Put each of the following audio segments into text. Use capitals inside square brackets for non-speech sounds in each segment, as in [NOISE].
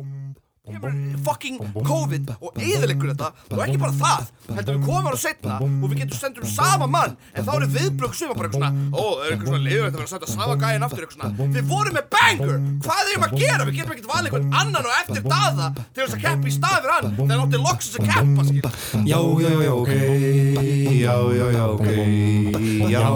kemur fucking COVID og eðilegur þetta og ekki bara það, heldur við komum ára setna og við getum sendur um sama mann en þá eru viðbrögg suma bara eitthvað svona ó, er eitthvað svona liður þetta verður að senda sama gæin aftur eitthvað svona við vorum með banger, hvað erum að gera við getum ekkert valið einhvern annan og eftir daða til þess að keppa í stað fyrir hann þegar hann átti loksins að keppa skil Já, já, já, ok Já, já, já,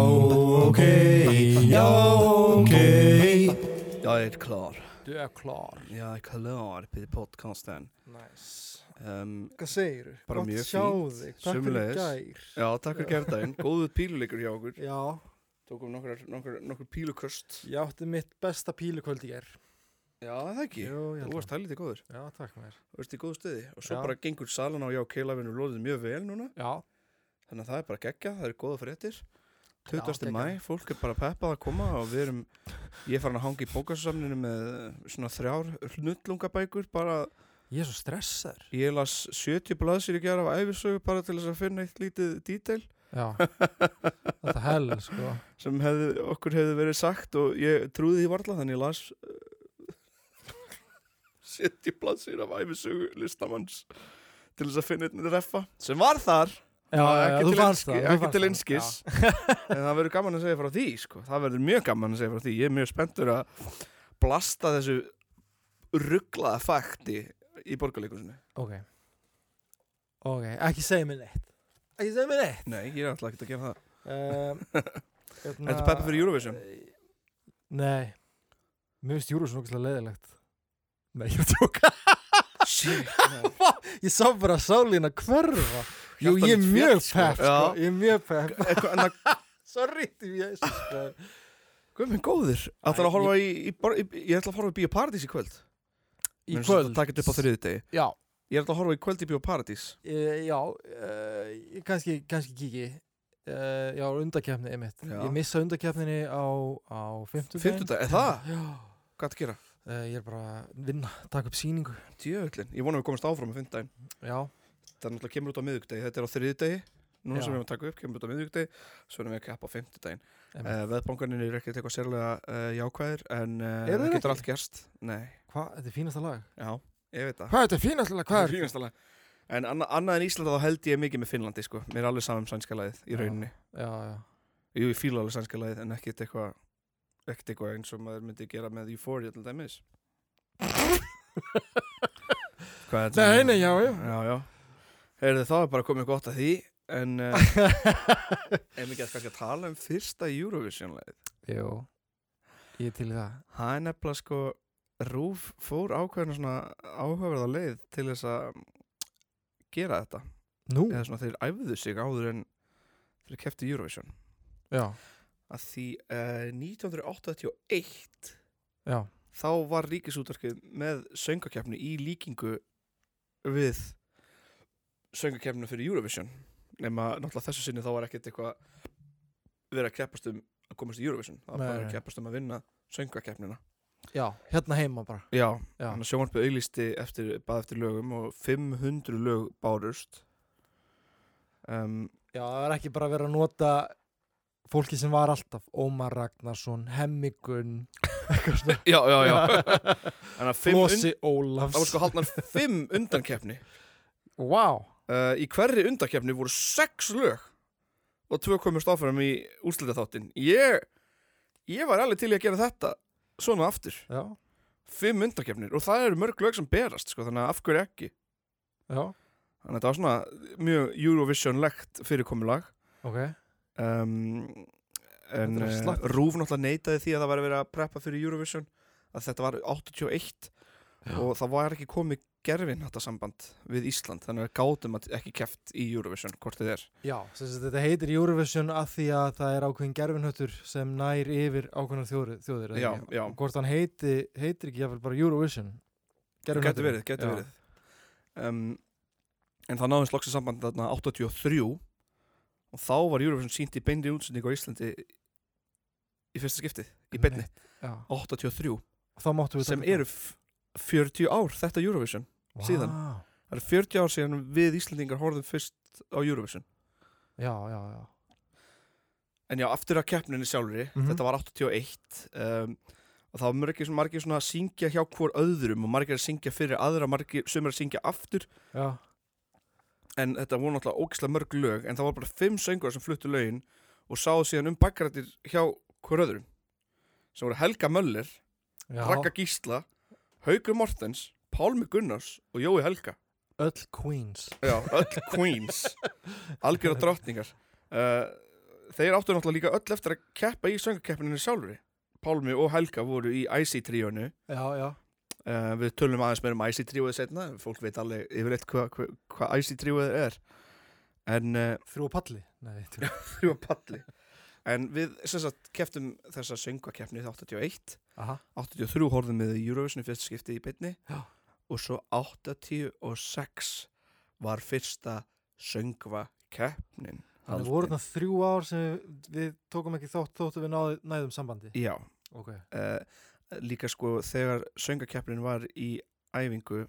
ok Já, ok Já, ok ég er klar, Du är klar. ég er klar fyrir podcasten Nice. um, Hvað segir? Bara mjög Gott sjá fínt. þig. Takk fyrir Sömuleiðis. gær. já, takk fyrir kæftæðin, góðu píluleikur hjá okkur Já, tókum nokkur, nokkur, nokkur píluköst ég átti mitt besta pílukvöld í gær. já, það ekki, Jú, ég þú held varst helviti góður það. Já, takk mér. Þú ert í góðu stuði og svo Já. bara gengur salan á já keilafinu lóðið mjög vel núna Já. þannig að það er bara geggja, það eru góða fréttir Já, 20. geggjað. mæ, fólk er bara peppað að koma og við erum, ég er farin að hanga í bókasamninu með svona þrjár hnullungabækur bara, Ég er svo stressaður. ég las 70 blaðsir í gera af æfisögu bara til þess að finna eitt lítið dítel [LAUGHS] Já. Þetta hell, sko. sem hefði, okkur hefði verið sagt og ég trúði því varla þannig ég las uh, [LAUGHS] 70 blaðsir af æfisögu listamanns til þess að finna eitt reffa sem var þar Já, Það er já, ekki þú til fannst einski- það. þú ekki fannst til það. einskis Já. [LAUGHS] en það verður gaman að segja frá því sko. það verður mjög gaman að segja frá því ég er mjög spenntur að blasta þessu rugglaða fakti í borgarleikusinu Ok. Ok, ekki segja mér neitt. Ekki segja mér [LAUGHS] neitt. nei, ég er alltaf ekkert að gera það Um, hérna, Ertu peppuð fyrir Eurovision? Nei. Mér finnst Eurovision okkur leðilegt. Nei, ég er að tjóka. Shit, nei. Ég sá bara sálín að hverfa. Jú, Hjarta ég er mitt mjög féll, sko. pepp, sko. Já. Ég er mjög pepp. Eitthvað- en það Sorry, því ég er svo guð minn góður ætlar að horfa í, í, bor- í ég ætla að horfa í Bíóparadís í kvöld Í kvöld. takk upp á þriðdegi Já. ég ætla að horfa í kvöld í Bíóparadís E, já, e, ég kannski, kannski kíki. E, já, undakefni, einmitt. Já. Ég missa undakefninni á, á 50. 50 dag, er það? Já. hvað það gera? E, ég er bara að vinna, taka upp síningu. djöðlin ég vonum við komast áfram á 50 daginn Já, þetta er náttúrulega kemur út á miðugdegi, þetta er á þriðdegi núna Já. sem við erum að taka upp, kemur út á miðugdegi svo erum við ekki upp á fimmtudaginn einmitt. uh, veðbankaninn eru ekkert eitthvað sérlega uh, jákvæðir en uh, Eru þeir getur ekki? allt gerst nei, Hvað, þetta er fínasta lag? já, ég veit það Hvað, þetta er fínasta lag, Það er fínastalega. en anna, annað en Íslanda þá held ég mikið með Finnlandi sko. mér er alveg saman um sænska lagið Já. í rauninni Já, já, jú, ég fíla alveg sænska lagið en ekkert eitthvað ekkert eitthvað eins og maður myndi gera með Euphoria til dæmis [LAUGHS] Hvað er þetta? Nei, nei, já, já. já, já. Heyrðu, þá er bara komið gott að því en [LAUGHS] uh, Ef við getum kannski að tala um fyrsta Eurovision-leið. Jú, ég er til í það. Það er nefnilega sko, Rúf fór ákveðinu svona áhugaverða leið til þess að gera þetta. Nú? Eða svona þeir æfðu sig áður en þeir kefti Eurovision. Já, Að því uh, 1981 já, þá var ríkisútarkið með söngakefni í líkingu við söngakefni fyrir Eurovision. Nefna náttúrulega þessu sinni þá var ekkert eitthvað verið að keppast um að komast í Eurovision. Það var Nei, bara að nei. keppast um að vinna söngakefnina. já, hérna heima bara. Já, Já. þannig að sjónvarpið auglisti eftir, bað eftir lögum og 500 lög bárust um, Já, það er ekki bara verið að nota fólki sem var alltaf Ómar Ragnarsson, Hemmigun, [LAUGHS] eitthvað svona. [LAUGHS] Já, já, já [LAUGHS] Þannig að fimm und, Flossi Ólafs. það voru sko haldnar [LAUGHS] 5 undankeppni Wow. uh, Í hverri undankeppni voru 6 lög og tvö komist áfram í úrslita þáttin Ég, ég var alveg til í að gera þetta svona aftur Já, 5 undankeppnir og það eru mörg lög sem berast sko, þannig að af hverju ekki já, Þannig að þetta var svona mjög Eurovision-legt fyrirkomulag ok. um, en Þetta er eh, slakt. Rúf náttúrulega neitaði því að það var að vera að preppa fyrir Eurovision að þetta var 81 og það var ekki komið gerfin þetta samband við Ísland þannig að við gátum að ekki keft í Eurovision hvort þið er Já, sem sagt, þetta heitir Eurovision að því að það er ákveðin gerfinhöttur sem nær yfir ákveðinar þjóðir. þjóðir eða Já, ekki? já. Hvort hann heiti, heitir ekki jafnvel bara Eurovision. getur verið, Gervihnötturinn. getur Já. verið. Um, en það náðist loksins samband þarna 83 og þá var Eurovision sínt í beinni útsendingu á Íslandi í fyrsta skiptið, í beinni Einmitt, Já, 83 og þá máttu við sem taka- eru f- 40 ár þetta Eurovision Vá. síðan. Það eru 40 ár síðan við Íslandingar horfðum fyrst á Eurovision. Já, já, já. En já, aftur að keppninni sjálfri, Mhm. þetta var 81 um, og þá var mörgir svona margir svona að syngja hjá hvor öðrum og margir að syngja fyrir aðra, margir sem er að syngja aftur já, en þetta voru náttúrulega ógislega mörg lög en það var bara fimm söngur sem fluttu lögin og sáðu síðan um bakgrættir hjá hver öðrum sem voru Helga Möller, já. Ragga Gísla Haugur Mortens, Pálmi Gunnars og Jói Helga öll queens Já, öll queens algjör og drottningar uh, þeir áttu náttúrulega líka öll eftir að keppa í söngarkeppninu sjálfri Pálmi og Helga voru í IC-tríónu já, já, Uh, við tölum aðeins meira um IC-tríóið setna, fólk veit alveg yfirleitt hvað hva, hva IC-tríóið er en uh, þrjú á palli Nei, þrjú. þrjú að palli en við sem sagt keftum þessa söngakeppni 81 Aha, 83 horfðum við Eurovision í fyrsta skipti í beinni Já. og svo 86 var fyrsta söngvakeppnin þannig voru þarna þrjú ár sem við, við tókum ekki þótt þóttu við náði, næðum sambandi Já, ok, uh, líka sko þegar söngakeppnin var í æfingu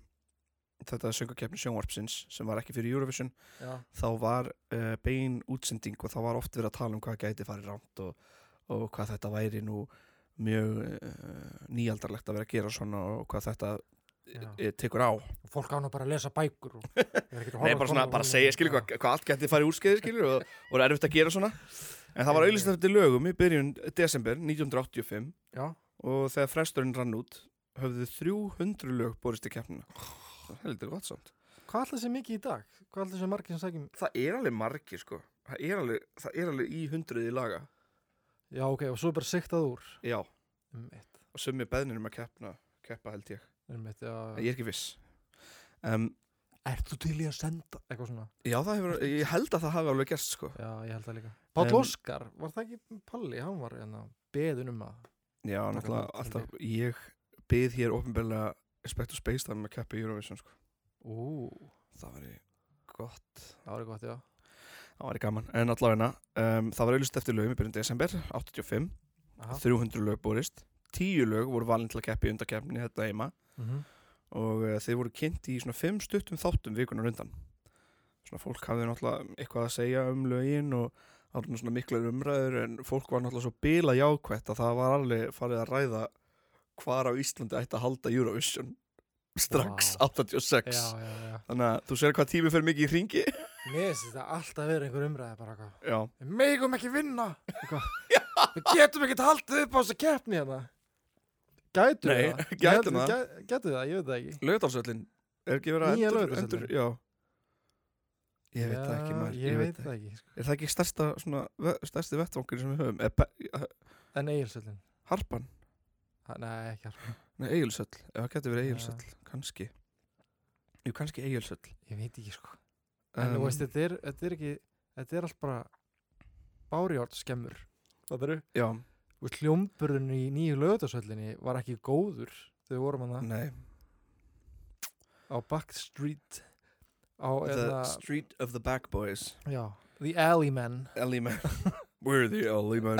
þetta söngakeppni sjónvarpsins sem var ekki fyrir Eurovision já, þá var uh, bein útsending og þá var oft verið að tala um hvað gæti farið rámt og, og hvað þetta væri nú mjög uh, nýaldarlegt að vera að gera svona og hvað þetta já. e, tekur á fólk án að bara lesa bækur [LAUGHS] og, Ég er ekkert að Nei, horfa á bara svona, tónleika. bara segja, skilur, hvað, hvað allt gæti farið úrskeiði, skilur, og, og er erfitt að gera svona en það var auðvitað eftir lögum í byrjun desember 1985 já, og þegar fresturinn rann út höfðu 300 lög borist í keppnina það er heldur gott samt hvað alltaf sé mikið í dag hvað alltaf sé margir sem sækjum það er alveg margir, sko það er alveg, það er alveg í hundruði laga já, ok, og svo er bara siktað úr já, um eitt, og summi beðnir um að keppna keppa held ég, um eitt, en já ég er ekki viss um, ert þú til í að senda eitthvað svona, já, það hefur, ég held að það hafi alveg gerst, sko já, ég held það líka Páll En- Óskar, var það ekki Palli hann var hérna, beðun um að já, náttúrulega, alltaf, ég byð hér ofinbeglega Spectre Space það með að keppa í Eurovision, sko ú, það væri gott það var eitthvað, já það væri gaman, en allavegna um, það var auðvist eftir lögum í byrjun desember 85, Aha. 300 lög borist 10 lög voru valin til að keppa í undarkeppni þetta heima Mm og uh, þeir voru kynnt í svona 5 stuttum þáttum vikunar undan svona fólk hafði náttúrulega eitthvað að segja um lögin og það voru svona miklar umræður en fólk var náttúrulega svo bila jákvætt að það var alveg farið að ræða hvar á Íslandi ætti að halda Eurovision strax Vá. 86 já, já, já þannig að þú sér hvað tími fyrir mikið í ringi mér finnst þetta alltaf verið einhver umræði bara eitthvað já, við megum ekki vinna [LAUGHS] eitthvað. við getum ekki haldið upp á þessu keppni hérna gætu [LAUGHS] Nei, það gætum það. gætu það, ég veit það ekki lögdalsöllin er ekki verið að Nýja endur- Laugardalsvöllinn? endur- já ég veit það ekki Já, maður, ég, veit það ekki sko. er það ekki stærsta svona, ve- stærsti vettvangur sem við höfum er Be- en Egilsöldin, harpan, nei ekki alveg. nei eigilsöll ef það getur verið Já. eigilsöll, kannski jú, kannski Um, eigilsöll ég veit ekki sko en þú veist, þetta er, þetta er ekki þetta er allt bara bárjátt skemmur það eru já, hljómburðin í nýju lögutasöllinni var ekki góður þegar við vorum hann nei á Backstreet á the eða, street of the back [LAUGHS] boys já, The Alley Men Ellie [LAUGHS] man we're the Ellie man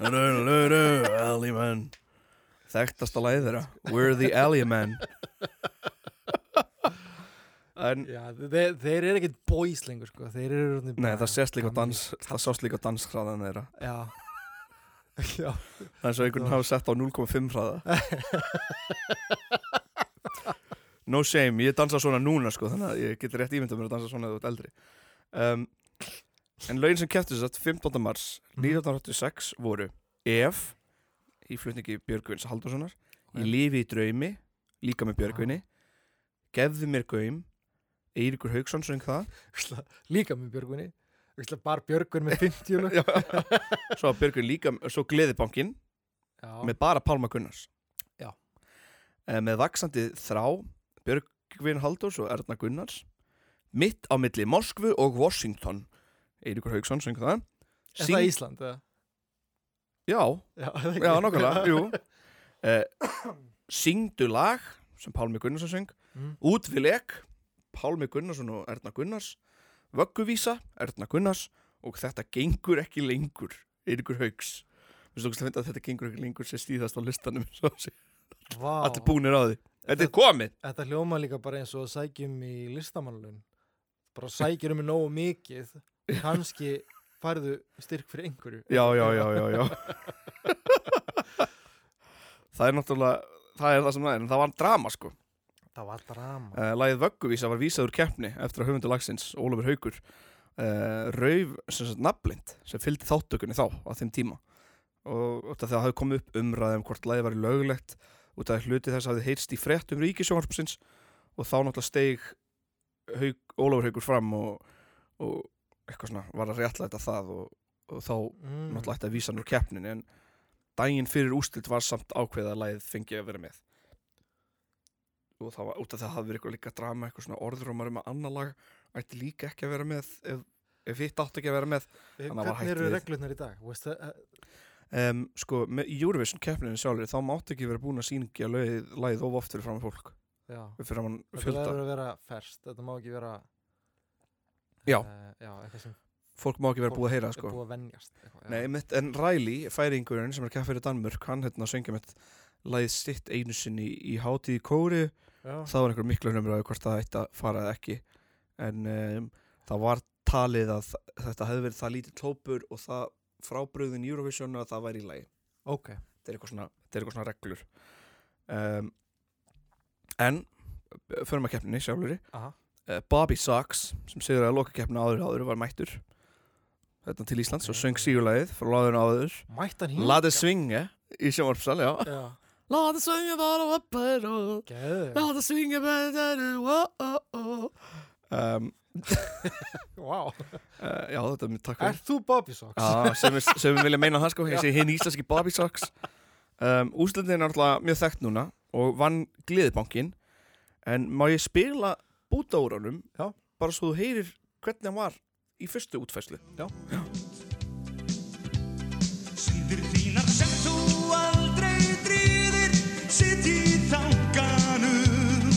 Na, na, na, na, na, Ellie man þekktasta læð þeirra we're the Ellie [LAUGHS] man en Já, þeir, þeir eru ekkert boys lengur sko Þeir eru orðnir Nei, bara það sést líka á gamlir. dans, það sást líka á danshraðan þeirra. Já [LAUGHS] Já, Það er svo einhvern Það- hafa sett á 0,5 hraða. No shame, ég dansa svona núna sko, þannig að ég geti rétt ímynda mér að dansa svona þegar þú ert eldri. Um, en lögin sem kæftu þess að 15. mars 1986 voru Ef, í flutningi Björgvins Haldurssonar, Ok. Ég lifi í draumi, líka með Björgvinni, Gefðu mér gaum, Eiríkur Haugsson söng það, ætla, líka með Björgvinni ætla, Bar Björgvin með 50 lög [LAUGHS] Já. svo Björgvin líka, svo Gleðibankin, Já, með bara Pálma Gunnars Já. Eh, með vaksandi þrá Björgvin Halldórs og Erna Gunnars mitt á milli Moskvu og Washington Eiríkur Hauksson söng það er það Ísland? Eða? já, Já, er það ekki? já, [LAUGHS] nokkulega, jú uh, syngdu lag sem Pálmi Gunnarsson söng Mm. út við leik Pálmi Gunnarsson og Erna Gunnars vögguvísa, Erna Gunnars og þetta gengur ekki lengur Eiríkur Hauks Mér finnst þú að finna að þetta gengur ekki lengur sem stíðast á listanum [LAUGHS] svo sé Vá, Allir búnir á því Þetta er komið Þetta hljóma líka bara eins og að sækjum í listamannlun Bara sækjum um nógu mikið kannski færðu styrk fyrir einhverju Já, já, já, já, já það er náttúrulega, það er það sem það er, en það var drama sko. Það var drama. Uh, lagið Vögguvísa var vísaður keppni eftir að höfundu lagsins, Ólafur Haugur, uh, rauf sem sagt nafnblind sem fylgdi þáttökunni þá á þeim tíma. Og út af því að það hafði komið upp umræðum hvort lagið var löglegt, út af því hluti þess hafði heyrst í fréttum ríkisjónvarpsins og þá náttúrulega steig Haug, Ólafur Haugur fram og, og eitthvað svona var að réttlæta það og, og þá Mm. náttúrulega ætti að vísa hann úr keppninni en daginn fyrir ústilt var samt ákveðið að lagið fengi að vera með og það var út af það hafði verið eitthvað líka drama eitthvað svona orðrumar um að annar lag ætti líka ekki að vera með ef, ef hitt átti ekki að vera með Við- hann var hætt Eh, Hvernig eru við. reglurnar í dag? Þú Veist, eh, það, um, sko, með í Eurovision keppninni sjálfur þá mátti ekki vera búin að sýningja lagið, lagið of oft fyrir fram fólk já. fyrir fram Þetta fjölda verður að vera ferskt. Þetta má ekki vera... Já. eh, já, eitthvað sem fólk má ekki vera fólk búið að heyra er sko. búið að venjast. Eitthvað, já. Nei, mitt, en Riley, færingurinn sem er keppir í Danmörk hann hérna söngja mitt lagið sitt einu sinni í hátíð í kóri Já. það var einhver miklu umræðu hvort það ætti að fara eða ekki en um, það var talið að þa- þetta hefði verið það lítið tópur og það frábröðin Eurovision að það væri í lagi Ok. þetta er eitthvað svona, þetta er eitthvað svona reglur um, en eh, förum að keppninni sjálfur Aha. uh, Bobby Socks sem sigur að loka keppna áður áður var mættur þetta til Íslands og söng sígulegið frá áður áður Mættan hín? Lade svinge í sjónvarpsal, já Já. Lade svinge bara vappar og Geðu. Láta svinga með þetta um, Vá. uh, Já, þetta er mjög takk Er fyrir þú Bobby Socks? Já, sem, við- sem við vilja meina það sko Ég sé hinn íslenski Bobby Socks um, Úslendin er náttúrulega mjög þekkt núna og vann gleðibankin en má ég spila búta úr honum Já. bara svo þú heyrir hvernig hann var í fyrstu útfæslu Já, Síðir þínar sem þú aldrei drýðir Sitt í þanganum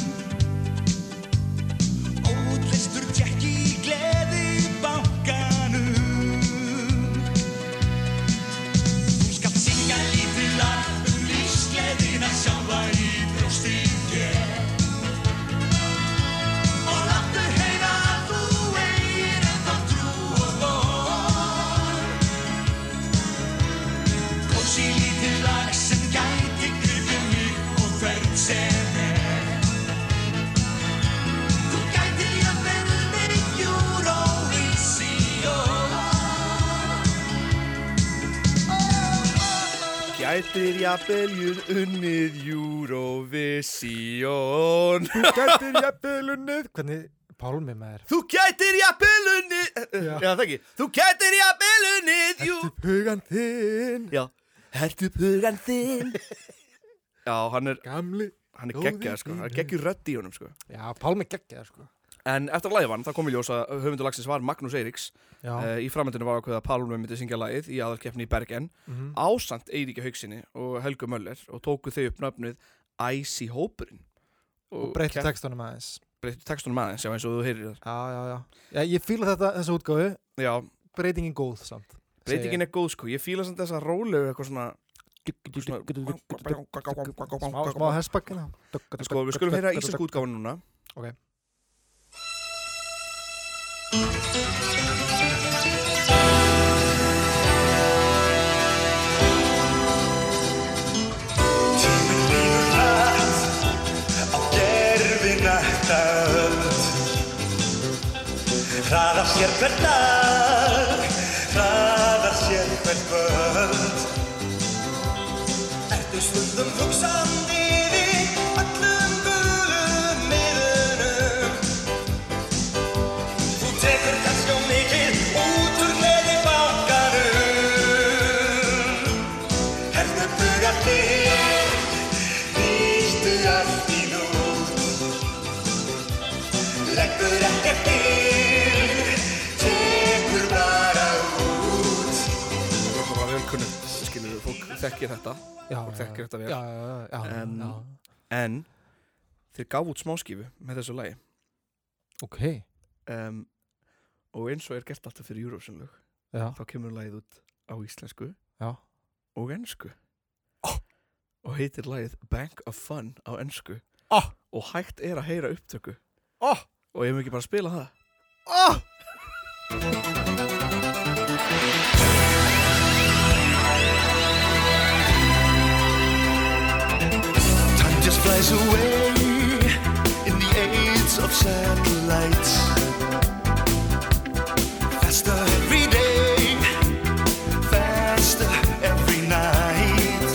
Ótlistur tjekk í gleði bankanum Þú skalt syngja lítið lag Um lífsgleðina sjálfa í brjósti þér Og láttu heyra að þú eigir ennþá trú og von Kósi lítið lag sem gæti grifið mig og hvern sem er Þú gæti að verða með oh, Eurovision gætir jafnveljun unnið Eurovision Gætir jafnvel unnið. Hvernig pálmi maður? Þú gætir jafnvel unnið Já. Já, það ekki Þú gætir jafnvel unnið Jú Þú hugan þinn. Já Hertu pugan þinn Já, hann er, Gamli. hann er Góði geggjað sko, hann er vinur. geggjur rödd í honum sko Já, pálmi geggjaður sko. En eftir að lagið vann, þá kom í ljós að höfundur lagsins var Magnús Eiríks Já. uh, Í framöndinu var ákveða að Palme myndi syngja lagið í aðalkeppni í Bergen Mhm. Ásamt Eiríki Haugsinni og Helgu Möller og tóku þau upp nöfnuð Icy Hópurinn og breytti kepp- textunum aðeins. breyttu textunum aðeins, já eins og þú heyrir það Já, já, já. já ég fíla þetta, þessa útgáfu. Já, Breytingin góð samt. breytingin er góð sko, ég fíla samt þessa rólegu eitthvað svona Smá, smá hérna. herspakkina. Sko, við skulum heyra íslensku útgáfan núna Ok. Tíminn líður hratt á gerfinætta öld Hraðar sér hver dag, hraðar sér hver völd Ertu stundum hugsandi við öllum gulum miðunum Þú tekur kannski á mikið út úr gleði bankanum Herðu bugar þig, nýttu allt í lút. Leggur ekkert til, tekur bara út. Það var bara vel kunnum, skilur fólk þekkir þetta og þekkir þetta vel. Já, já, já, já, En- já. En þeir gaf út smáskífu með þessu lagi Ok, um, Og eins og er gert alltaf fyrir Eurovision lög já, Þá kemur lagið út á íslensku já. og ennsku Og heitir lagið Bank of Fun á ennsku Oh. Og hægt er að heyra upptöku Oh. Og ég mjög ekki bara að spila það Oh! Þú flies away in the age of satellites. Faster every day, faster every night.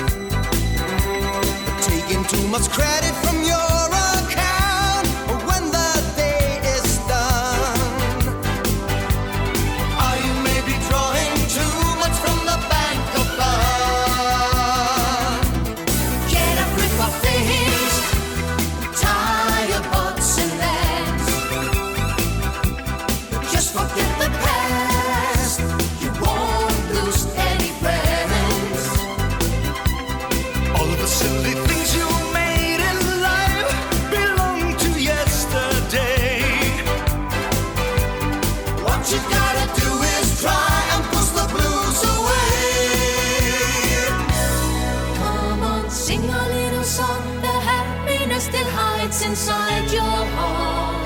Taking too much credit from your account when the day is done. I may be drawing too much from the bank of fun. Get a grip of things. Tie your butts and lands. Just forget the past. You won't lose any friends. All of the silly things you made in life belong to yesterday. What you gotta do is try and push the blues away. Come on, sing a little song. The happiness still hides inside your heart.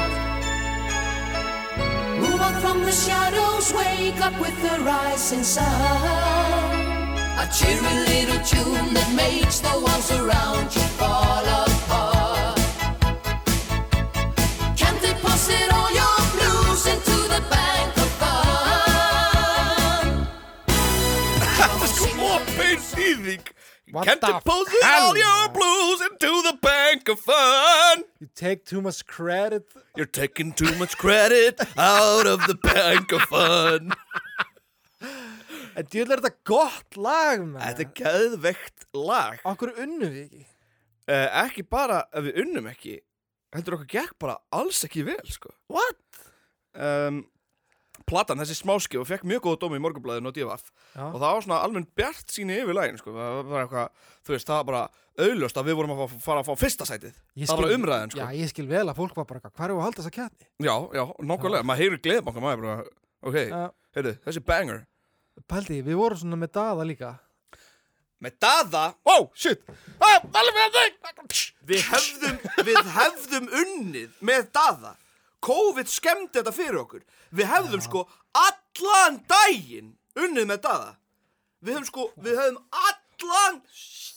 Move on from the shadows, wake up with the rising sun. A cheery little tune that makes the ones around you fall apart. Can't deposit all your blues into the bank of fun. Þetta er svo opið síðing What Can't the deposit hell? all your blues into the bank of fun You take too much credit You're taking too much credit out of the bank of fun En djöðlega er þetta gott lag Þetta er maður. geðveikt lag Okkur unnu við ekki uh, Ekki bara ef við unnum ekki Heldur okkur gekk bara alls ekki vel sko. What? Um, platan, þessi smáskif og fekk mjög góða dómi í morgunblæðinu og divaf Já. og það var svona almenn bjart síni yfir lægin sko. það var bara eitthvað, þú veist, það var bara auðlöst að við vorum að fá, fara að fá fyrsta sætið Ég það var skil- bara umræðin sko. Já, ég skil vel að fólk var bara eitthvað, Hvar er að halda þessa kjarni? Já, já, nokkulega, maður heyrir gleðbanka maður bara, ok, Já. heyrðu, þessi banger Paldi, við vorum svona með daða líka Með daða, wow, shit ah, alveg að þau Við hefðum, við hefðum unnið með daða COVID skemmti þetta fyrir okkur Við hefðum sko allan daginn unnið með daða Við hefðum sko, við hefðum allan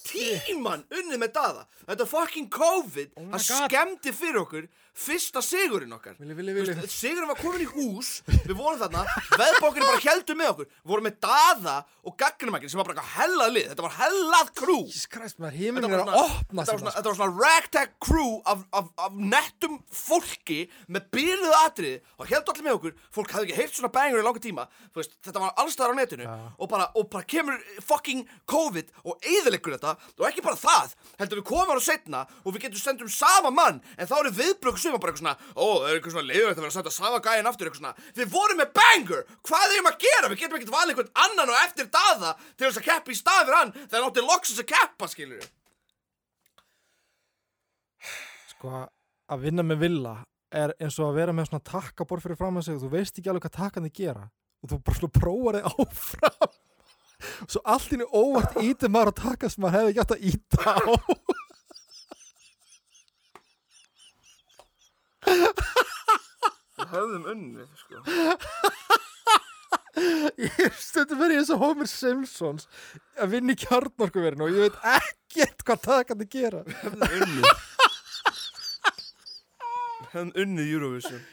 tíman unnið með daða Þetta fucking COVID, það Oh God. skemmti fyrir okkur fyrsta sigurinn okkar Vili, vili, vili. Þú veist, Sigurinn var komin í hús, við vorum þarna Veðbókinn bara heldur með okkur Við vorum með daða og gagnumækinn sem var bara eitthvað hellað lið Þetta var hellað krú Jesus Christ, maður, heiminn Þetta var er að svona- þetta opna var sig svona, þetta var svona ragtag crew af, af, af nettum fólki með byrjuðu atriði og held allir með okkur fólk hafði ekki heyrt svona bangur í langa tíma Þú veist, þetta var allstaðar á netinu og, bara, og bara kemur fucking COVID og eyðilegur þetta og ekki bara það heldur við komum ára setna og við getum sendum sama mann en þá eru viðbrögg suma bara eitthvað svona ó, það er eitthvað svona leiður þetta verið að senda sama gæjan aftur eitthvað svona við vorum með banger hvað erum að gera við getum ekkert valið einhvern annan og eftir daða til þess að keppa í staðir hann þegar hann átti loksins að keppa skilur Sko, að vinna með villa er eins og að vera með svona takkabor fyrir fram að sig og þú veist ekki alveg hvað takkan þið gera og þú bara svona prófar þið áfram [LAUGHS] svo allt inni óvart ítir maður að taka sem maður hefði ekki átt að íta á höfðum unnið sko. Ég stundum verið eins og Homer Simpsons að vinna í kjarnorkuverinu og ég veit ekkert hvað takkan þið gera höfðum unnið höfðum unnið Eurovision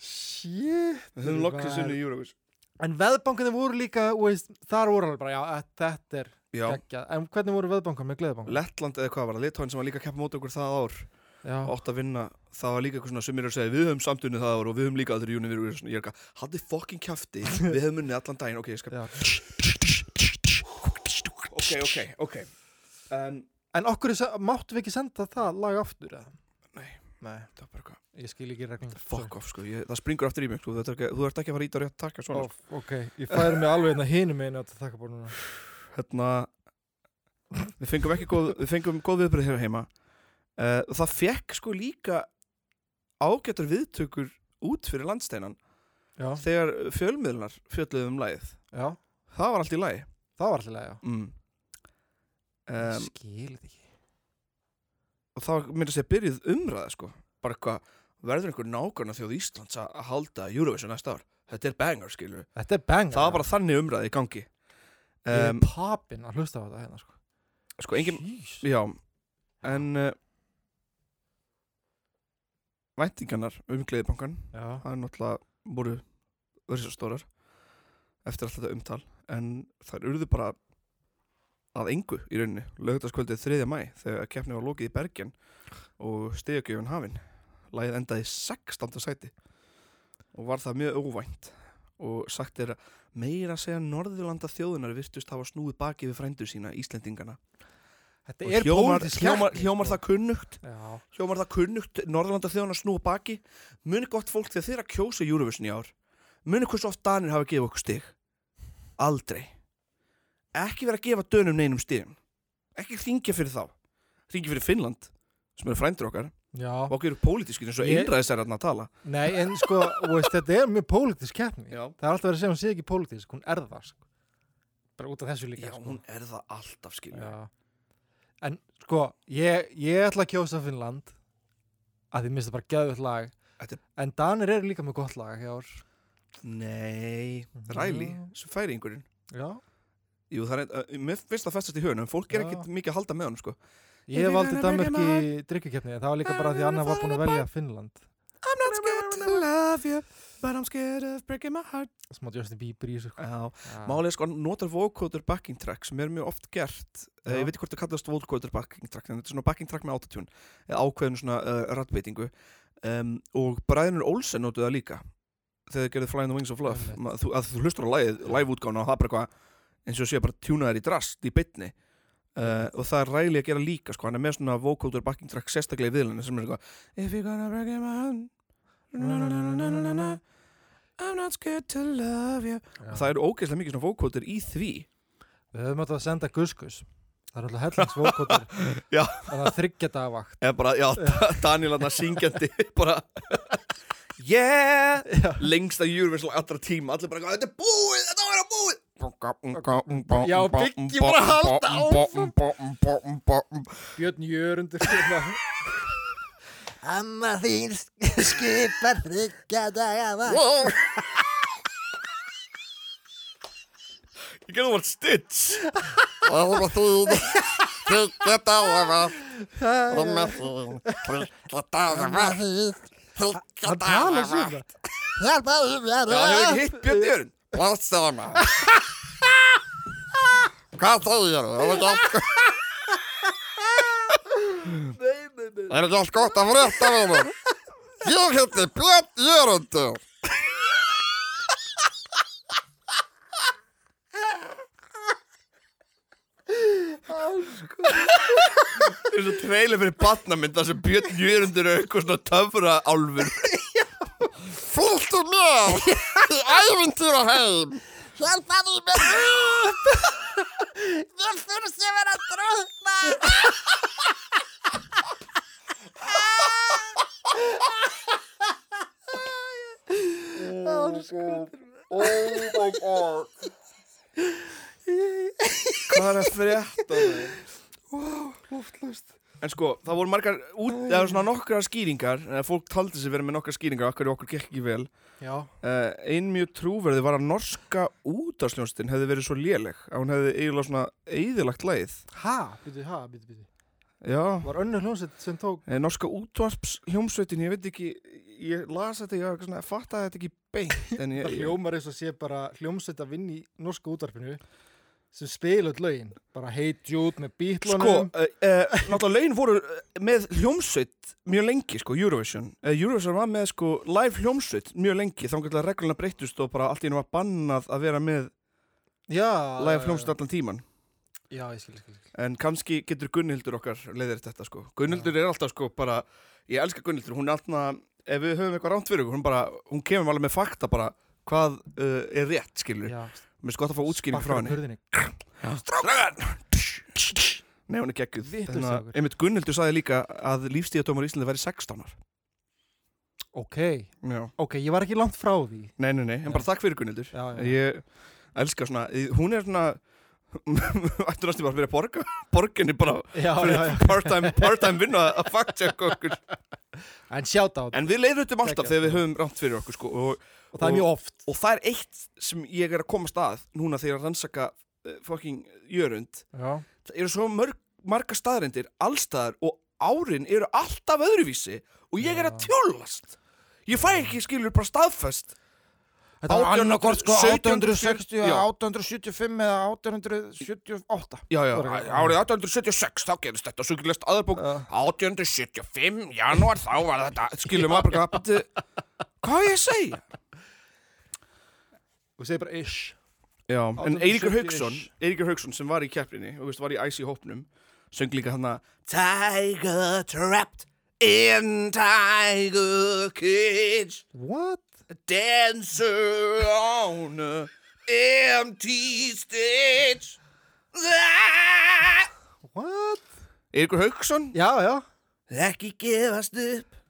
Shit höfðum loksins maður. unnið Eurovision En veðbankanir voru líka, þú veist, þar voru alveg bara, já, að þetta er Já. geggjað. En hvernig voru veðbankar með gleðbanka? Lettland eða hvað var það, Litóin sem var líka að keppa móti okkur það ár Já, átt að vinna, það var líka eitthvað svona sem mér er að segja við höfum samt unnið það ár og við höfum líka aldrei unnið Eurovision, ég er eitthvað, haldið fokkin kæfti við höfum unnið allan daginn, ok, ég skal já. ok, ok, ok en, En okkur er, sa- máttum við ekki senda það lag aftur, eða? nei, Nei, það var bara eitthvað ég skil ekki reglum. fuck off, sko, ég, það springur aftur í mig sko. þetta er ekki, þú ert ekki að fara ít á rétt takja svona Ó, ok, ég færi mig alveg hérna hinum einu að þakka búin núna. hérna við fengum ekki góð, við fengum góð viðbröð hér heima uh, það fekk sko líka ágættar viðtökur út fyrir landsteinan Já, þegar fjölmiðlunar fjölluðu um lagið já, það var allt í lagi það var alltaf lega, já. mm. Ég um, skil þetta ekki. og það var mér að segja byrjuð umræða sko bara eitthvað, verður einhver nákvæmna þjóð Íslands að að halda Eurovision næsta ár þetta er banger skilur, Þetta er bang. það var bara þannig umræða í gangi Ég um, er papinn að hlusta á þetta hérna, sko. sko engin, Jeez. Já, en uh, væntingarnar um gleðibankan Já, það er náttúrulega voru risastórar eftir alltaf þetta umtal en þær urðu bara að engu í rauninni lögutaskvöldið 3. mæ þegar keppni var lokið í Bergen og stegjögjöfun hafin lagið endaði í 16. sæti og var það mjög óvænt og sagt er að meira að segja norðurlanda þjóðunar virtust hafa snúið baki við frændur sína Íslendingana þetta Og er hljómar, pólitísk hljómar, keppni, hljómar sko. það kunnugt Já, hljómar það kunnugt Norðurlanda þjóðan að snúa baki muni gott fólk þegar þeirra kjósa í Eurovision í ár muni hversu oft Danir hafa gefið okkur stig aldrei ekki vera að gefa dönum neinum stigum ekki ringja fyrir þá ringja fyrir Finnland sem eru frændur okkar og já, okkur eru pólitískir eins og Ég- einræðis er að tala nei, en sko, þú veist, þetta er mjög pólitísk keppni. Já. Það er alltaf verið að segja að hún sé ekki pólitísk, hún er það, sko. Bara út af þessu líka, já, sko. hún er það alltaf skilja Já. En sko, ég, ég ætla að kjósa Finnland að því minnst það bara geðvöld lag Þetta en Danir eru líka með gott lag hjá ár Mhm. nei, Ræli, sem færi yngurinn Já, Jú, það er, uh, mér finnst það festast í hugunum, fólk er Já. ekkit mikið að halda með honum, sko. ég valdi Danmörk í drikkukefni en það var líka bara því að Anna var búin að velja Finnland I'm not scared to love you, but I'm scared of breaking my heart. smá Justin Bieber í þessu sko. Já, Já. Málið er sko, hann notar vocoder backing track sem er mjög oft gert Já. eh, Ég veit ekki hvort það kallast vocoder backing track en þetta er svona backing track með autotune eða ákveðinu svona uh, rattbeitingu um, og Bræðinur Olsen notuðu það líka þegar þau gerðu Flying the Wings of Love Einmitt. Ma, þú, að þú hlustur á lagið, live útgána og það er bara eitthvað eins og sé bara tjúnaðir í drast í bytni Uh, og það er ræli að gera líka sko, hann er með svona vocoder backing track sérstaklega í viðlunni sem er eitthvað If you're gonna break my hand na, na, na, na, na, na, na, I'm not scared to love you Já. og það eru ógeðslega mikið svona vókóter í því Við höfum átt að senda Guskus það er alltaf hellings vókotur [LAUGHS] Já. það er þryggja dagvakt eða bara, já, Da- [LAUGHS] Daniel hann syngjandi [LAUGHS] bara yeah, lengsta júruvinsla allra tíma, allir bara, þetta er búið þetta var að búið Já, Biggi bara að halda áfram Björn Jörundur hérna. Amma ég gerði það var stitch þín tala svona já, það hefur [LAUGHS] ekki hitt Björn Jörn Það er svo trailer fyrir batnamynd þar sem Björn Jörundur er eitthvað svona töfra álfur Fylgstu mér í ævintýra heim Hjálpaðu mér Mér þurfti að vera dröfna Oh my god Hvað er að frétta það? En sko, það voru margar út, eða svona nokkra skýringar, eða fólk taldi sér verið með nokkra skýringar, okkur okkur gekk ekki vel. Já, Uh, ein mjög trúverði var að norska útvarsljónstin hefði verið svo léleg, að hún hefði eiginlega svona eðilagt lagið. ha, býtu, ha, býtu, býtu Já, Var önnur hljónsett sem tók eh, norska útvarsljónsveitin, ég veit ekki, ég las þetta, ég var svona, fattaði þetta ekki beint, [LAUGHS] en ég, Það ég, hljómar eins og sé bara hljómsveit að vinna í norsku útvarpinu sem spila öll lögin bara Hey Jude með sko, bítlunum uh, uh, náttúrulega lögin voru eh, með hljómsveit mjög lengi, sko, Eurovision. Uh, Eurovision var með, sko, live hljómsveit mjög lengi, þá gætlega regluna breyttust og bara allt í hennu var bannað að vera með Já, laga hljómsveit allan tíman Já, ég skil, ég skil, ég skil. en kannski getur Gunnhildur okkar leiðir þetta sko Gunnhildur er alltaf sko bara ég elska Gunnhildur, hún er alltaf ef við höfum eitthvað ránt fyrir okkur, hún bara hún kemur alveg með fakta bara hvað uh, er rétt skilur, Já, mér sko að fá útskýring frá bakkar henni hurðinni. Strákar! Nei, hún er gegguð Vitlaus Þannig að strákur. einmitt Gunnhildur sagði líka að lífstíðatómar í Íslandi væri 16 ár Ok, Já. ok, ég var ekki langt frá því Nei, nei, nei, en bara takk fyrir Gunnhildur Já, já. Ég elska svona, hún er svona [LAUGHS] ættu næstu bara að vera að borga [LAUGHS] borginni bara Já, já, já. part-time part vinna að fact-check okkur En sjáta á þetta, en við leiðrutum alltaf Geggjað. þegar við höfum rámt fyrir okkur sko, og, og það er mjög oft og það er eitt sem ég er að koma stað núna þegar ég er að rannsaka uh, fucking jörund Já, það eru svo mörg, marga staðrendir allstaðar og árin eru alltaf öðruvísi og ég er að tjólast ég fæ ekki skilur bara staðfest Þetta var 1800 annarkort sko 1760, 1860, já. 1875 eða 1878 Já, já, árið 1876 þá gerist þetta, svo gerist aðarbók 1875, janúar þá var þetta skilur maður bara hvað hvað á ég að segja? Og segir bara ish Já, en 1870 Eiríkur Hauksson -ish. Eiríkur Hauksson sem var í keppninni og veist, var í æs í hópnum söng líka hann að Tiger trapped in tiger cage What? dancer on a empty stage What? Eiríkur Hauksson Já, já, Ekki gefast upp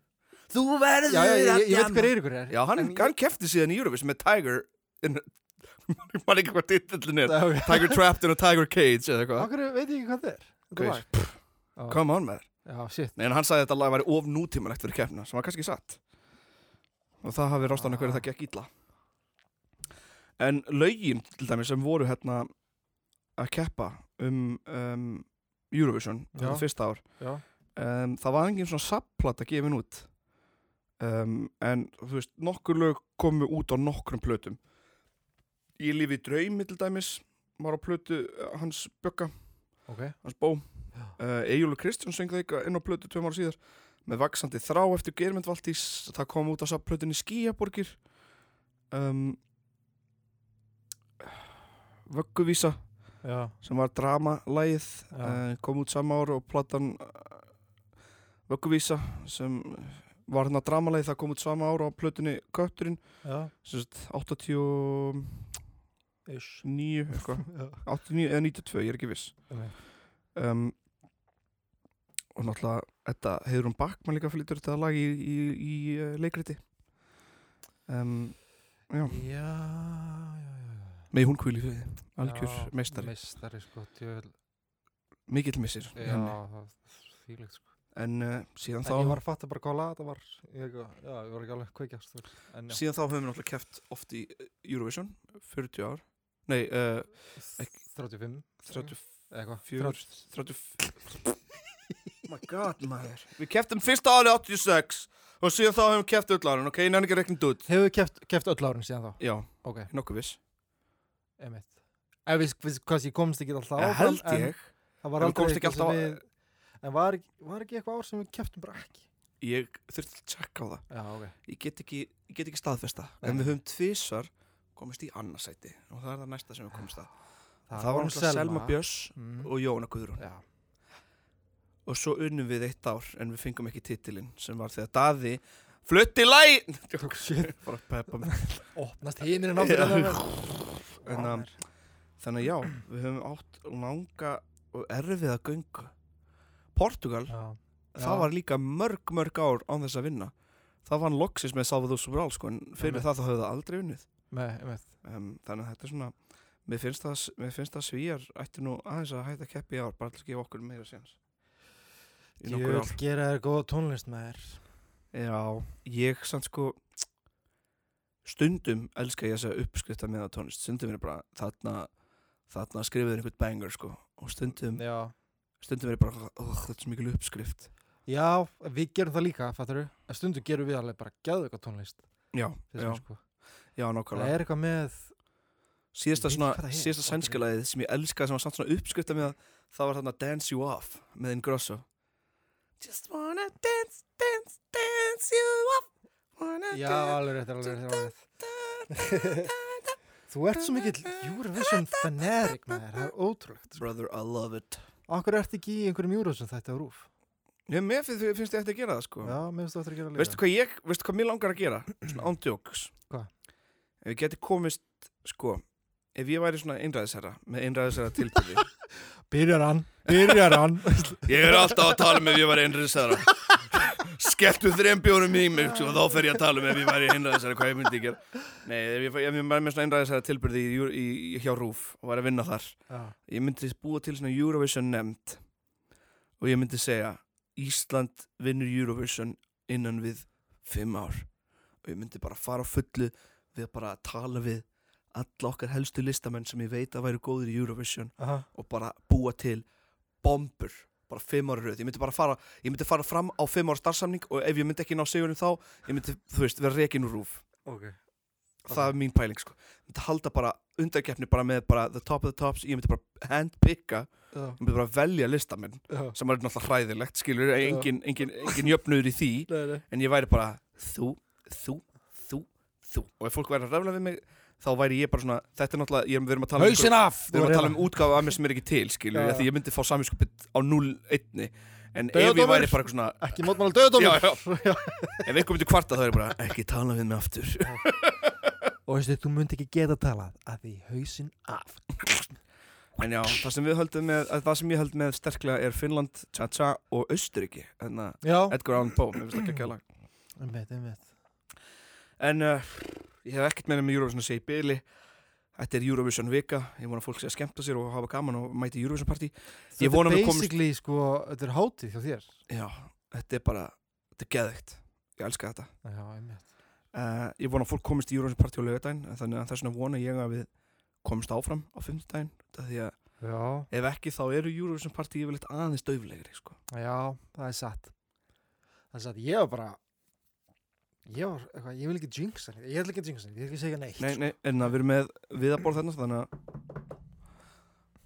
Þú verður já, já ég, ég, ég veit djamma. hver Eiríkur er Já, hann, hann kefti síðan í Eurovision með Tiger in [LAUGHS] Man ekki hvað titillin er Já, já. Tiger Trapped in a Tiger Cage eða eitthvað Akkur veit ég ekki hvað það er Þetta Hver? lag. Come on maður Já, shit Nei, en hann sagði að þetta lag væri of nútímanlegt fyrir keppna sem var kannski satt og það hafi rást hann hverju það gekk illa En lögin til dæmi sem voru hérna að keppa um, um Eurovision Já. þetta fyrsta ár Já. um, það var engin svona sapplata gefin út um, en þú veist, nokkur lög komu út á nokkrum plötum Ég lifi í draumi til dæmis var á plötu eh, hans Bjögga Ok hans bó uh, Egil og Kristján söng það ykkur inn á plötu tveim ára síðar með vaksandi þrá eftir Germund Valdís það kom út á sapplötunni Skíaborgir um, Vögguvísa Já, sem var dramalægið Já. uh, kom út sama ár og platan uh, Vögguvísa sem var hérna dramalægið það kom út sama ár á plötunni Kötturinn já, sem sagt 89 ish eitthvað Já, 89 eða 92, ég er ekki viss Einmitt. um, og náttúrulega þetta hefur hún Bakman líka flyttur þetta lag í, í, í eh, leikriti um, já, já, já. með hún kvíli fyrir algjör Já, meistari, Meistari, sko, djövel mikill missir Já, henni. það þýlegt, sko en uh, síðan En þá ég var að fatta bara hvað lag það var ég, ekki- Já, ég var ekki alveg kveikjast þú veist. En já, síðan þá höfum við náttúrulega keft oft í eh, Eurovision 40 ár nei, uh, 35 30, eða eitthvað 40, 30 30 [LAUGHS] oh my god maður við keftum fyrsta árið 86 og síðan þá höfum við keft öll árin ok, ég nefnir ekki að rekna út Hefur keft, keft öll árin síðan þá? já, Ok, nokkuð viss emitt Ef við, við, hvað ég komst ekki alltaf Já, áfram held ég En það En var við aldrei komst ekki eitthvað sem alltaf á- við En var, ekki- var ekki eitthvað ár sem við keftum bara ekki Ég þurfti að tjekka á það Já, ok Ég get ekki, ég get ekki staðfesta En Nei. við höfum tvisvar komist í annarsæti Og það er það næsta sem við komist að Það, var var hún náttúrulega Selma Selma. Björns mm. og Jóna Guðrún Já, Og svo unnum við eitt ár En við fengum ekki titilinn Sem var þegar Daði Flutti [LAUGHS] læg shit. Bara peppa mig opnast Já. heiminn Þannig En, um, Þannig að já, við höfum átt langa og erfið að göngu Portugal, Já, það var líka mörg, mörg ár án þess að vinna Það vann loksis með Salvador Sobral sko, En fyrir Einmitt. það þá höfðu það aldrei unnið með, með, um, þannig að þetta er svona mér finnst það, mér finnst það svíjar ætti nú aðeins að hætta að keppi í ár bara til að gefa okkur meira séns í Ég nokkur vil ár gera þér góða tónlist með þér já, ég samt sko stundum elska ég þess að uppskrifta með að tónlist stundum er bara þarna þarna skrifaður einhvern banger sko og stundum, Já stundum er bara oh, þetta er svo mikil uppskrift Já, við gerum það líka, fattur við Stundum gerum við alveg bara gæðu eitthvað tónlist já, finnst já, mér, sko. já, Það nákvæmlega er eitthvað með síðasta Ég veit svona, hvað það er, síðasta okkur. sænskalaðið sem ég elskaði sem var samt svona uppskrifta með að það var þarna Dance You Off með Ingrosso Just wanna dance, dance, dance you off Wanna Já, alveg rétt, alveg rétt, alveg rétt [LAUGHS] Þú ert svo mikill Eurovision fanatic maður, það er ótrúlegt dance Brother, I love it Akkur ert ekki í einhverjum Eurovision þætti á rúf Ég mér finnst, finnst ég eftir að gera það sko Já, mér finnst þú eftir að gera líka Veistu hvað ég, veistu hvað mér langar að gera? Svona ándjóks Hvað? Ef ég geti komist, sko Ef ég væri svona einræðisherra Með einræðisherra tilbyrði Byrjar hann, byrjar hann [LAUGHS] Ég er alltaf að tala um ef ég var einræðisæðara [LAUGHS] Skelltu þrejum bjórum í mig og þá fer ég að tala um ef ég var einræðisæðara hvað ég myndi gera Nei, ef ég, ef ég var með svona einræðisæðara tilbyrði í, í, í, hjá Rúf og var að vinna þar Já, ég myndi búa til svona Eurovision nefnd og ég myndi segja Ísland vinnur Eurovision innan við fimm ár og ég myndi bara fara á fullu við bara að tala við alla okkar helstu listamenn sem ég veit að væru góðir í Eurovision aha, og bara búa til bombur bara fimm ára í röð, ég myndi bara fara ég myndi fara fram á fimm ára starfsamning og ef ég myndi ekki ná sigurinn þá, ég myndi, þú veist, vera rekin úr rúf ok það er mín pæling, sko ég myndi halda bara undarkeppni bara með bara the top of the tops, ég myndi bara handpicka Já, ég myndi bara velja listamenn já, sem er náttúrulega hræðilegt, skilur engin, engin, engin jöfnur í því nei, nei en ég væri bara þú, þú, þú, þú og ef fólk væri að ræfla við mig þá væri ég bara svona, þetta er náttúrulega, ég, við erum að tala um einhver- Hauðsinn af Við erum að tala um útgáfu af mér sem er ekki til, skilur Já, ja. já. Því ég myndi fá samvinskupið á 0-1 En ef ég væri Dauðadómur. bara eitthvað svona Ekki mótmála döðdómi Já, já, ef einhver myndi kvarta þá er ég bara Ekki tala við mig aftur Og veistu, þú munt ekki geta talað að því hausinn af En já, það sem við höldum með að Það sem ég held með sterklega er Finnland, Tja-Tja og Hérna, Austuríki Þannig að Já, Edgar Allan Poe, mér finnst ekki að kæla einmitt, einmitt En uh, ég hef ekkert meira með Eurovision að segja í byli Þetta er Eurovision vika Ég vona að fólk sé að skemmta sér og hafa gaman og mæti í Eurovision party Ég vona Þetta við er komumst- basically, sko, þetta er hátíð hjá þér Já, þetta er bara, þetta er geðveikt Ég elska þetta Já, einmitt Uh, ég vona að fólk komist í Eurovision Party á laugardaginn en þannig að þess vegna vona ég að við komist áfram á fimmtudaginn því að Já, ef ekki þá eru Eurovision Party yfirleitt aðeins döflegri sko. já, það er satt Það er satt, ég var bara Ég var, eitthvað, ég vil ekki jinxa neitt. Ég ætla ekki að jinxa neitt, ég vil ekki segja neitt Nei, nei, en að við erum með viðaborð þarna þannig að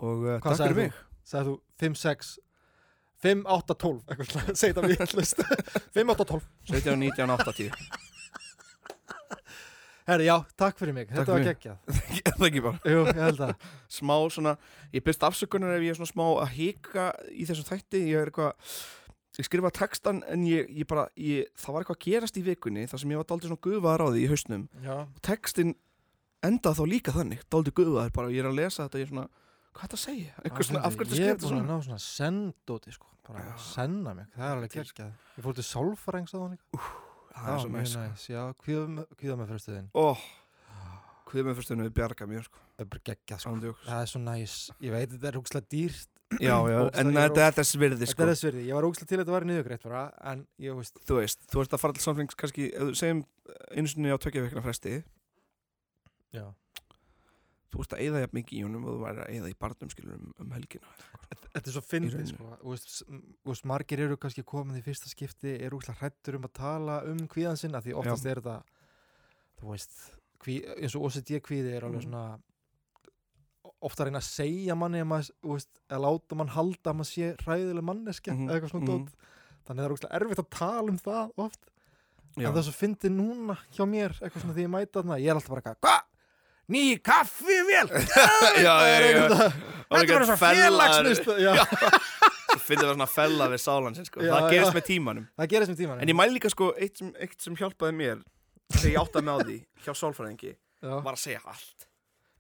og uh, Hvað takk fyrir sagðir mig Sæðu þú 5, 6 5, 8, 12 [LAUGHS] Eitthvað, segi það vitlust [LAUGHS] 5, 8, 12 17, 19, 80 Herri, já, takk fyrir mig, Takk þetta var fyrir. geggjað [LAUGHS] Ég er það ekki bara Jú, ég held að smá svona, ég byrst afsökunar ef ég er svona smá að hika í þessum þætti ég er eitthvað, ég skrifa textan en ég, ég bara, ég, það var eitthvað að gerast í vikunni þar sem ég var daldið svona gufaðar á því í hausnum Já, textin enda þá líka þannig dálítið guðaður bara, ég er að lesa þetta ég er svona, hvað er þetta að segja? Einhver svona, af hverju þetta Ég er skrifa búin að svona? ná svona sendóti, sko Bara Já. að senna mig, það er alveg Til- geggjað Ég fór til sálfarengs á hann Það er svo mjög næs næs sko. Já, kvíða með fyrstöðin Ó, hvað með fyrstunum við bjarga mér sko, Það er bara geggjað, sko án djóks Það er svo næs, ég veit þetta er húkslega dýrt Já, já, Ógeðslega en ég er þetta er þess virði Þetta sko er þess verið, ég var ógæslega til að þetta var niðurgreitt bara En ég veist, Þú veist, þú ert að fara til samfélings kannski, ef þú segjum eh, einu sinni á tökja vekna fresti já þú ert að eyða jafn mikið í honum og þú væri að eyða í barnum skilur um, um helgina Þetta er svo Í fyndið, rauninni. sko Þú veist, s- m- þú veist, margir eru kannski komin í fyrsta skipti Eru ógæslega hrættur um að tala um kvíðan sinna Því oftast er þetta, þú veist kví, Eins og OCD kvíði er alveg Mm. svona ofta að reyna að segja manni að, maður, þú veist, að láta mann halda að maður sé hræðileg manneskja Mhm, eða eitthvað svona mhm. dót þannig að það er ógæslega erfitt að tala um það oft Já, en það er svo fyndið núna hjá mér eitthvað svona því ég mæta þarna, ég er alltaf bara eitthvað hva? Ný kaffi vel já, já, já. Þetta er bara svo félagsnist já, Finnir það svona fella við sálan sinn sko Já, Það já. gerist með tímanum Það gerist um með tíman En ég mæl líka sko eitt sem, eitt sem hjálpaði mér þegar ég áttaði með á því hjá sálfræðingi var að segja allt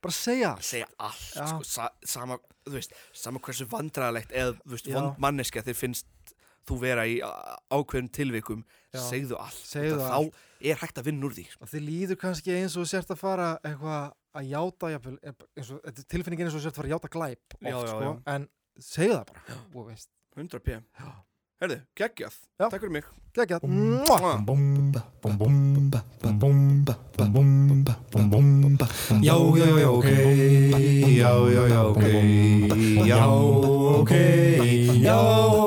Bara segja að segja allt Já. sko, sa sama, þú veist, sama hversu vandræðalegt eða þú veist, Já. vond manneskja þér finnst þú vera í a- ákveðum tilvikum Já. segðu allt Segðu Þetta- allt. þá er hægt að vinna úr því sko. og þið líður kannski eins og þú sért að fara eitthvað að játa jafnvel, eh, eins og, þetta er tilfinningin eins og þú sért að fara að játa glæp oft, Já, já, sko, en segja það bara og veist, 100 p.m. Herðu, geggjað, Já. takk fyrir mig geggjað Mua. Já, já, já, ok Já, já, já, ok Já, ok Já,